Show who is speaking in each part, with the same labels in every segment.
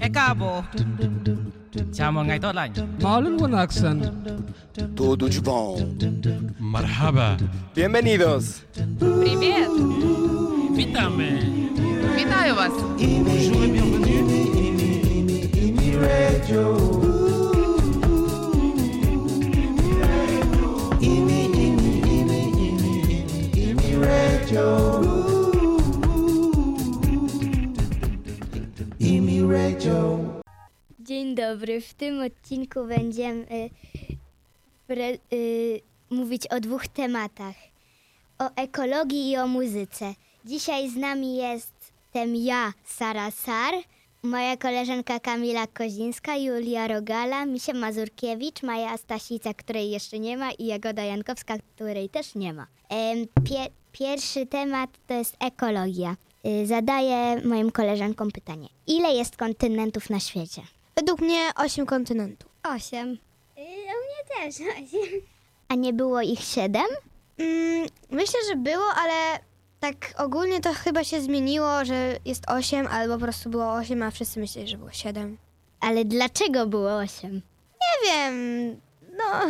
Speaker 1: Diabo! Chào mừng ngày tốt lành
Speaker 2: Marlon Accent.
Speaker 3: Tudo de bom.
Speaker 4: Marhaba.
Speaker 3: Bienvenidos.
Speaker 5: Привет!
Speaker 4: Witamy.
Speaker 5: Вітаю вас!
Speaker 6: Dzień dobry. W tym odcinku będziemy y, pre- y, mówić o dwóch tematach: o ekologii i o muzyce. Dzisiaj z nami jestem ja, Sara Sar, moja koleżanka Kamila Kozińska, Julia Rogala, Misia Mazurkiewicz, Maja Stasica, której jeszcze nie ma, i Jagoda Jankowska, której też nie ma. Em, pie- pierwszy temat to jest ekologia. Y, Zadaję moim koleżankom pytanie: ile jest kontynentów na świecie?
Speaker 7: Według mnie 8 kontynentów.
Speaker 6: Osiem. Y, U mnie też osiem. A nie było ich siedem?
Speaker 7: Mm, myślę, że było, ale tak ogólnie to chyba się zmieniło, że jest 8 albo po prostu było 8, a wszyscy myśleli, że było 7.
Speaker 6: Ale dlaczego było osiem?
Speaker 7: Nie wiem, no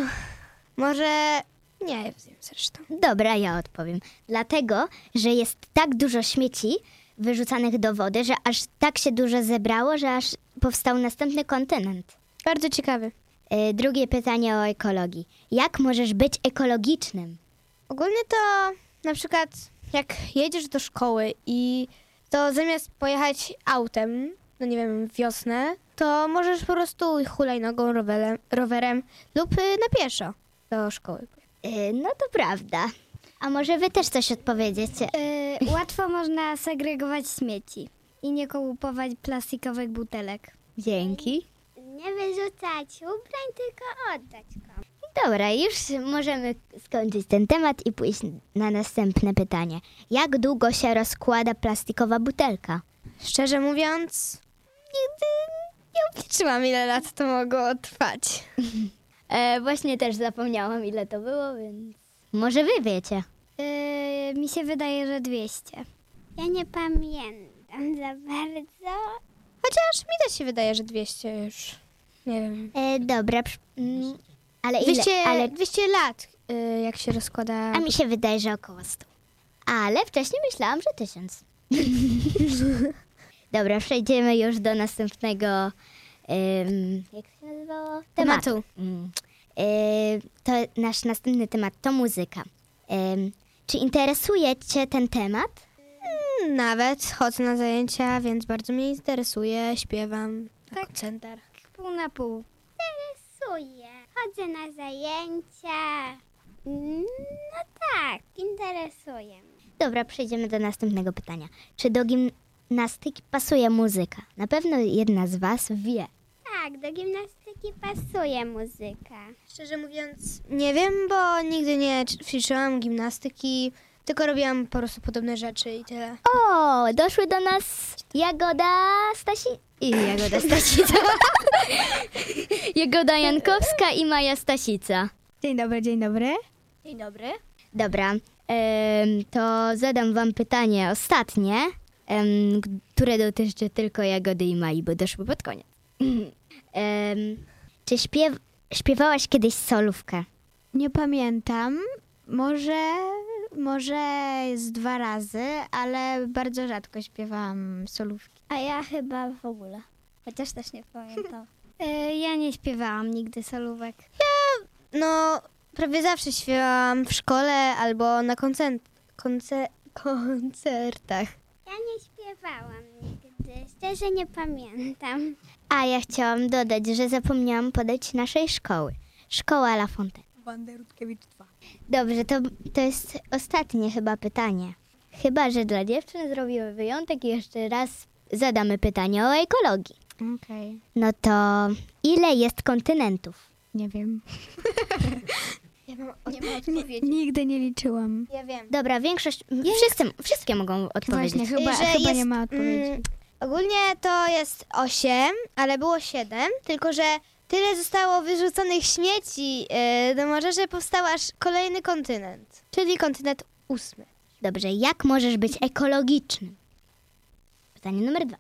Speaker 7: może nie wiem zresztą.
Speaker 6: Dobra, ja odpowiem. Dlatego, że jest tak dużo śmieci wyrzucanych do wody, że aż tak się dużo zebrało, że aż powstał następny kontynent.
Speaker 7: Bardzo ciekawy.
Speaker 6: Y, drugie pytanie o ekologii. Jak możesz być ekologicznym?
Speaker 7: Ogólnie to na przykład jak jedziesz do szkoły i to zamiast pojechać autem, no nie wiem, wiosnę, to możesz po prostu hulajnogą, rowerem, rowerem lub y, na pieszo do szkoły.
Speaker 6: Y, no to prawda. A może wy też coś odpowiedziecie?
Speaker 7: E, łatwo można segregować śmieci i nie kupować plastikowych butelek.
Speaker 6: Dzięki.
Speaker 7: Nie wyrzucać ubrań, tylko oddać.
Speaker 6: Dobra, już możemy skończyć ten temat i pójść na następne pytanie. Jak długo się rozkłada plastikowa butelka?
Speaker 7: Szczerze mówiąc, nigdy nie obliczyłam, ile lat to mogło trwać.
Speaker 6: E, właśnie też zapomniałam, ile to było, więc. Może wy wiecie.
Speaker 7: mi się wydaje, że 200.
Speaker 6: Ja nie pamiętam za bardzo.
Speaker 7: Chociaż mi też się wydaje, że 200 już. Nie wiem.
Speaker 6: E, dobra, przy- mm, ale ile?
Speaker 7: 200,
Speaker 6: Ale,
Speaker 7: 200 lat, y, jak się rozkłada.
Speaker 6: a mi się wydaje, że około 100. Ale wcześniej myślałam, że 1000. dobra, przejdziemy już do następnego. em, jak się nazywało?
Speaker 7: tematu.
Speaker 6: Mm. Y, to nasz następny temat to muzyka. Ym, czy interesuje Cię ten temat?
Speaker 7: Mm, Nawet chodzę na zajęcia, więc bardzo mnie interesuje, śpiewam. Tak. Koncenter.
Speaker 6: Pół na pół.
Speaker 8: Interesuje. Chodzę na zajęcia. Mm, No tak, interesuje. mnie.
Speaker 6: Dobra, przejdziemy do następnego pytania. Czy do gimnastyki pasuje muzyka? Na pewno jedna z Was wie.
Speaker 8: Tak, do gimnastyki pasuje muzyka.
Speaker 7: Szczerze mówiąc, nie wiem, bo nigdy nie ć- ćwiczyłam gimnastyki, tylko robiłam po prostu podobne rzeczy i tyle.
Speaker 6: O, doszły do nas Jagoda Stasi... I Jagoda Stasica. Jagoda Jankowska i Maja Stasica.
Speaker 7: Dzień dobry, dzień dobry.
Speaker 6: Dobra, em, to zadam wam pytanie ostatnie, em, g- które dotyczy tylko Jagody i Mai, bo doszło pod koniec. Em, czy śpiew- śpiewałaś kiedyś solówkę?
Speaker 7: Nie pamiętam. Może, może z dwa razy, ale bardzo rzadko śpiewałam solówki.
Speaker 8: A ja chyba w ogóle. Chociaż też nie pamiętam.
Speaker 7: ja nie śpiewałam nigdy solówek. Ja, no, prawie zawsze śpiewałam w szkole albo na koncert, konce, koncertach.
Speaker 8: Ja nie śpiewałam nigdy. Szczerze nie pamiętam.
Speaker 6: A ja chciałam dodać, że zapomniałam podać naszej szkoły. Szkoła La Fontaine. Dobrze, to, to jest ostatnie chyba pytanie. Chyba, że dla dziewczyn zrobimy wyjątek i jeszcze raz zadamy pytanie o ekologii.
Speaker 7: Okej,
Speaker 6: No to ile jest kontynentów?
Speaker 7: nie wiem. Nigdy nie liczyłam. Ja wiem.
Speaker 6: Dobra, większość. Wszyscy, wszystkie mogą odpowiedzieć.
Speaker 7: Y, że jest, mm, ogólnie to jest 8, ale było 7, tylko że tyle zostało wyrzuconych śmieci y, do morza, że powstał aż kolejny kontynent, czyli kontynent ósmy.
Speaker 6: Dobrze, jak możesz być ekologiczny? Pytanie numer dwa.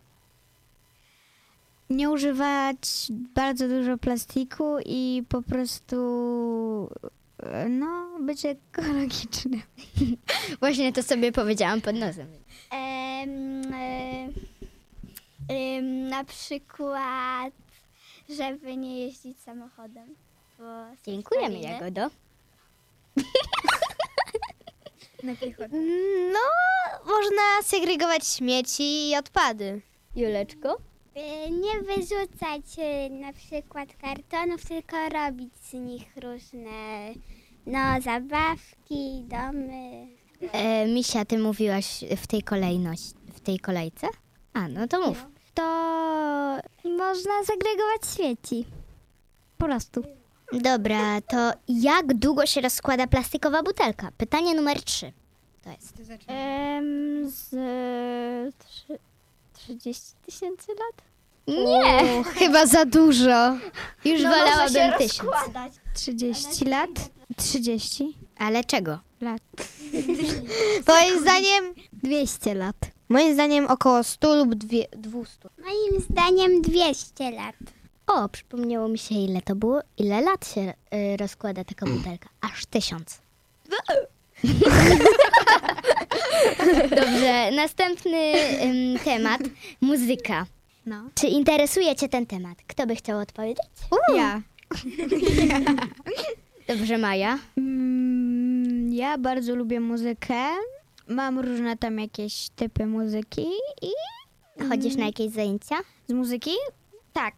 Speaker 7: nie używać bardzo dużo plastiku i po prostu e, no, być ekologicznym.
Speaker 6: Właśnie to sobie powiedziałam pod nosem.
Speaker 8: y, na przykład, żeby nie jeździć samochodem. Bo
Speaker 6: Dziękujemy, Jagodo.
Speaker 7: No, można segregować śmieci i odpady.
Speaker 6: Juleczko?
Speaker 8: Y, Nie wyrzucać y, na przykład kartonów, tylko robić z nich różne no, zabawki, domy.
Speaker 6: E, Misia, ty mówiłaś w tej kolejności, w tej kolejce? A, no to mów.
Speaker 7: To można segregować śmieci. Po prostu.
Speaker 6: Dobra, to jak długo się rozkłada plastikowa butelka? Pytanie numer trzy. To jest.
Speaker 7: z 30 tysięcy lat?
Speaker 6: Nie!
Speaker 7: chyba za dużo.
Speaker 6: Już
Speaker 7: No, może
Speaker 6: wolałabym
Speaker 7: się
Speaker 6: tysiąc.
Speaker 7: 30 lat? 30
Speaker 6: Ale czego?
Speaker 7: lat. Moim zdaniem 200 lat. Moim zdaniem około 100 lub 200.
Speaker 8: Moim zdaniem 200 lat.
Speaker 6: O, przypomniało mi się, ile to było, ile lat się y, rozkłada taka butelka. Aż tysiąc. Dobrze, następny ym, temat. Muzyka.
Speaker 7: No.
Speaker 6: Czy interesuje Cię ten temat? Kto by chciał odpowiedzieć?
Speaker 7: Ja.
Speaker 6: Dobrze, Maja.
Speaker 7: Mm, ja bardzo lubię muzykę. Mam różne tam jakieś typy muzyki i
Speaker 6: Chodzisz na jakieś zajęcia?
Speaker 7: z muzyki? Tak.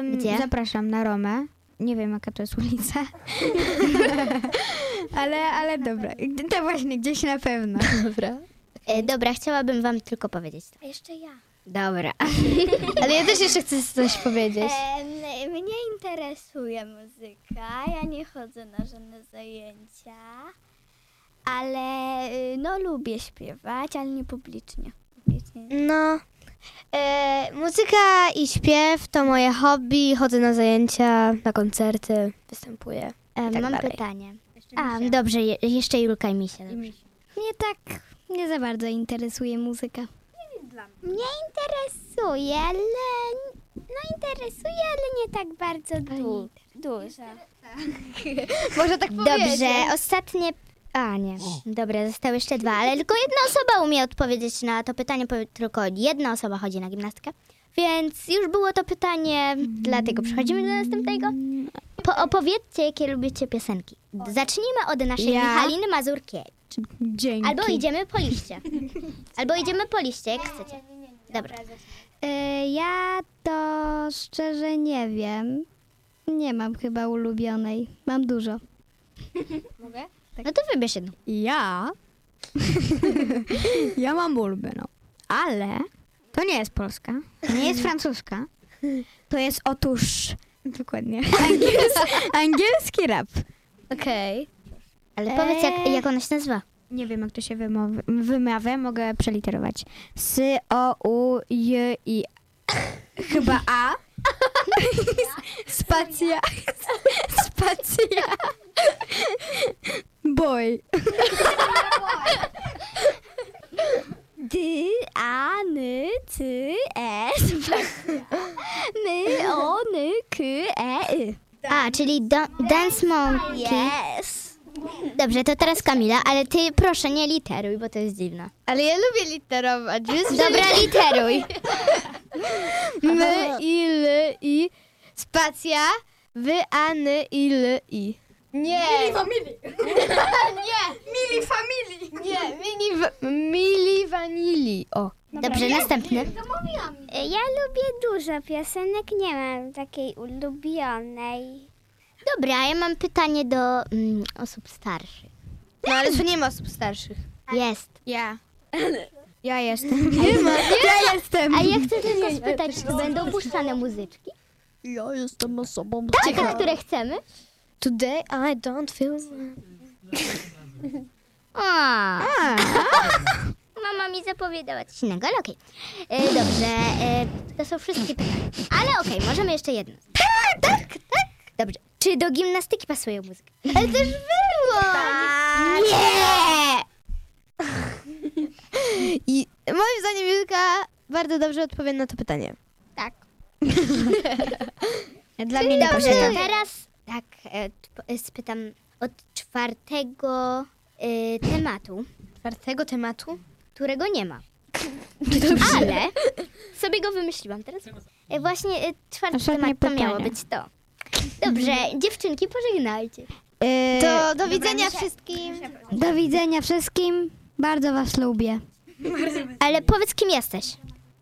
Speaker 7: Ym,
Speaker 6: Gdzie?
Speaker 7: Zapraszam na Romę. Nie wiem, jaka to jest ulica. ale, ale dobra. To właśnie gdzieś na pewno.
Speaker 6: Dobra. E, dobra, chciałabym Wam tylko powiedzieć to.
Speaker 8: A jeszcze ja.
Speaker 6: Dobra.
Speaker 7: Ale ja też jeszcze chcę coś powiedzieć.
Speaker 8: Em, Y, mnie interesuje muzyka. Ja nie chodzę na żadne zajęcia, ale y, no lubię śpiewać, ale nie publicznie. publicznie.
Speaker 7: No. E, muzyka i śpiew to moje hobby. Chodzę na zajęcia, na koncerty, występuję.
Speaker 6: E,
Speaker 7: tak
Speaker 6: mam
Speaker 7: dalej.
Speaker 6: pytanie. A, dobrze, je, jeszcze Julka i Misia. Dobrze.
Speaker 7: Mnie tak nie za bardzo interesuje muzyka.
Speaker 8: Mnie interesuje, ale no interesuje, ale nie tak bardzo du- dużo.
Speaker 7: Może tak
Speaker 6: Dobrze, ostatnie... A, nie. Dobra, zostały jeszcze dwa, ale tylko jedna osoba umie odpowiedzieć na to pytanie, bo tylko jedna osoba chodzi na gimnastykę. Więc już było to pytanie, dlatego przechodzimy do następnego. Po opowiedzcie, jakie lubicie piosenki. Zacznijmy od naszej
Speaker 7: Ja?
Speaker 6: Michaliny Mazurkiewicz.
Speaker 7: Dzięki.
Speaker 6: Albo idziemy po liście. Albo idziemy po liście, jak chcecie. Dobra.
Speaker 7: E, ja to szczerze nie wiem. Nie mam chyba ulubionej. Mam dużo. Tak.
Speaker 6: No to wybierz jedną.
Speaker 7: Ja? ja mam ulubioną. Ale to nie jest polska. Nie jest francuska. To jest otóż... Dokładnie. Angiels- angielski rap.
Speaker 6: Okej. Ale powiedz, jak,
Speaker 7: Eee.
Speaker 6: jak ona się nazywa.
Speaker 7: Nie wiem, jak to się wymowy- wymawia, mogę przeliterować. S, O, U, J, I. Chyba A. Spacja. Spacja. Boy. Dy, a, ny, ty, e, my, o, ny, k, e, y.
Speaker 6: A, czyli do, Dance Monkey. Dobrze, to teraz Kamila, ale ty proszę nie literuj, bo to jest dziwne.
Speaker 7: Ale ja lubię literować, więc
Speaker 6: Dobra, literuj.
Speaker 7: My, i, l, i, spacja, wy, a, ny, i, l, i. Nie. Mili familii. Nie. Mili familii. Nie, mini, mili vanili. O.
Speaker 6: Dobrze, następny.
Speaker 8: E, Ja lubię dużo piosenek, nie mam takiej ulubionej.
Speaker 6: Dobra, ja mam pytanie do mm, osób starszych.
Speaker 7: No ale tu nie ma osób starszych.
Speaker 6: Jest.
Speaker 7: Ja. Ja jestem. Nie ma. Ja jestem.
Speaker 6: A ja chcę tylko spytać, czy będą puszczane muzyczki?
Speaker 7: Ja jestem osobą.
Speaker 6: Tak, te, które chcemy?
Speaker 7: Today I don't feel...
Speaker 6: A. Mama mi zapowiadała coś innego, ale okej. E, Dobrze, e, to są wszystkie pytania. Ale okej, możemy jeszcze jedno. Tak, tak, tak. Dobrze. Czy do gimnastyki pasuje muzyka? Ale też było! Nie!
Speaker 7: I moim zdaniem Julka bardzo dobrze odpowie na to pytanie.
Speaker 8: Tak.
Speaker 7: Dla
Speaker 6: Czyli dobrze, to
Speaker 7: ważne.
Speaker 6: teraz tak e, t- e, spytam od czwartego e, tematu,
Speaker 7: Czwartego tematu?
Speaker 6: którego nie ma. Ale sobie go wymyśliłam teraz.
Speaker 8: E, Właśnie e, czwarty
Speaker 2: Ostatnie
Speaker 8: temat to miało
Speaker 2: pytanie.
Speaker 8: być to.
Speaker 6: Dobrze,
Speaker 2: Mhm.
Speaker 6: dziewczynki, pożegnajcie.
Speaker 2: E,
Speaker 7: To do widzenia wszystkim.
Speaker 2: Do widzenia wszystkim. Bardzo was lubię.
Speaker 6: Ale powiedz, kim jesteś.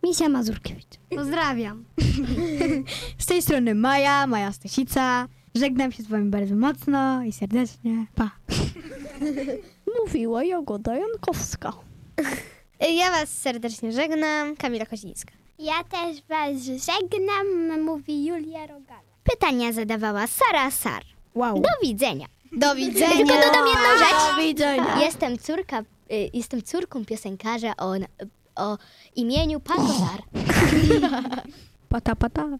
Speaker 2: Misia Mazurkiewicz. Pozdrawiam. z tej strony Maja, Maja Stasica. Żegnam się z wami bardzo mocno i serdecznie. Pa. Mówiła Jagoda Jankowska.
Speaker 7: Ja was serdecznie żegnam. Kamila Kozińska.
Speaker 8: Ja też was żegnam, mówi Julia Rogala.
Speaker 6: Pytania zadawała Sara Sar.
Speaker 2: Wow.
Speaker 6: Do widzenia.
Speaker 7: Do widzenia.
Speaker 6: Tylko dodam jedną rzecz.
Speaker 2: Do widzenia.
Speaker 6: Jestem córka, y, jestem córką piosenkarza o, o imieniu Paco Sar.
Speaker 2: Pata, pata.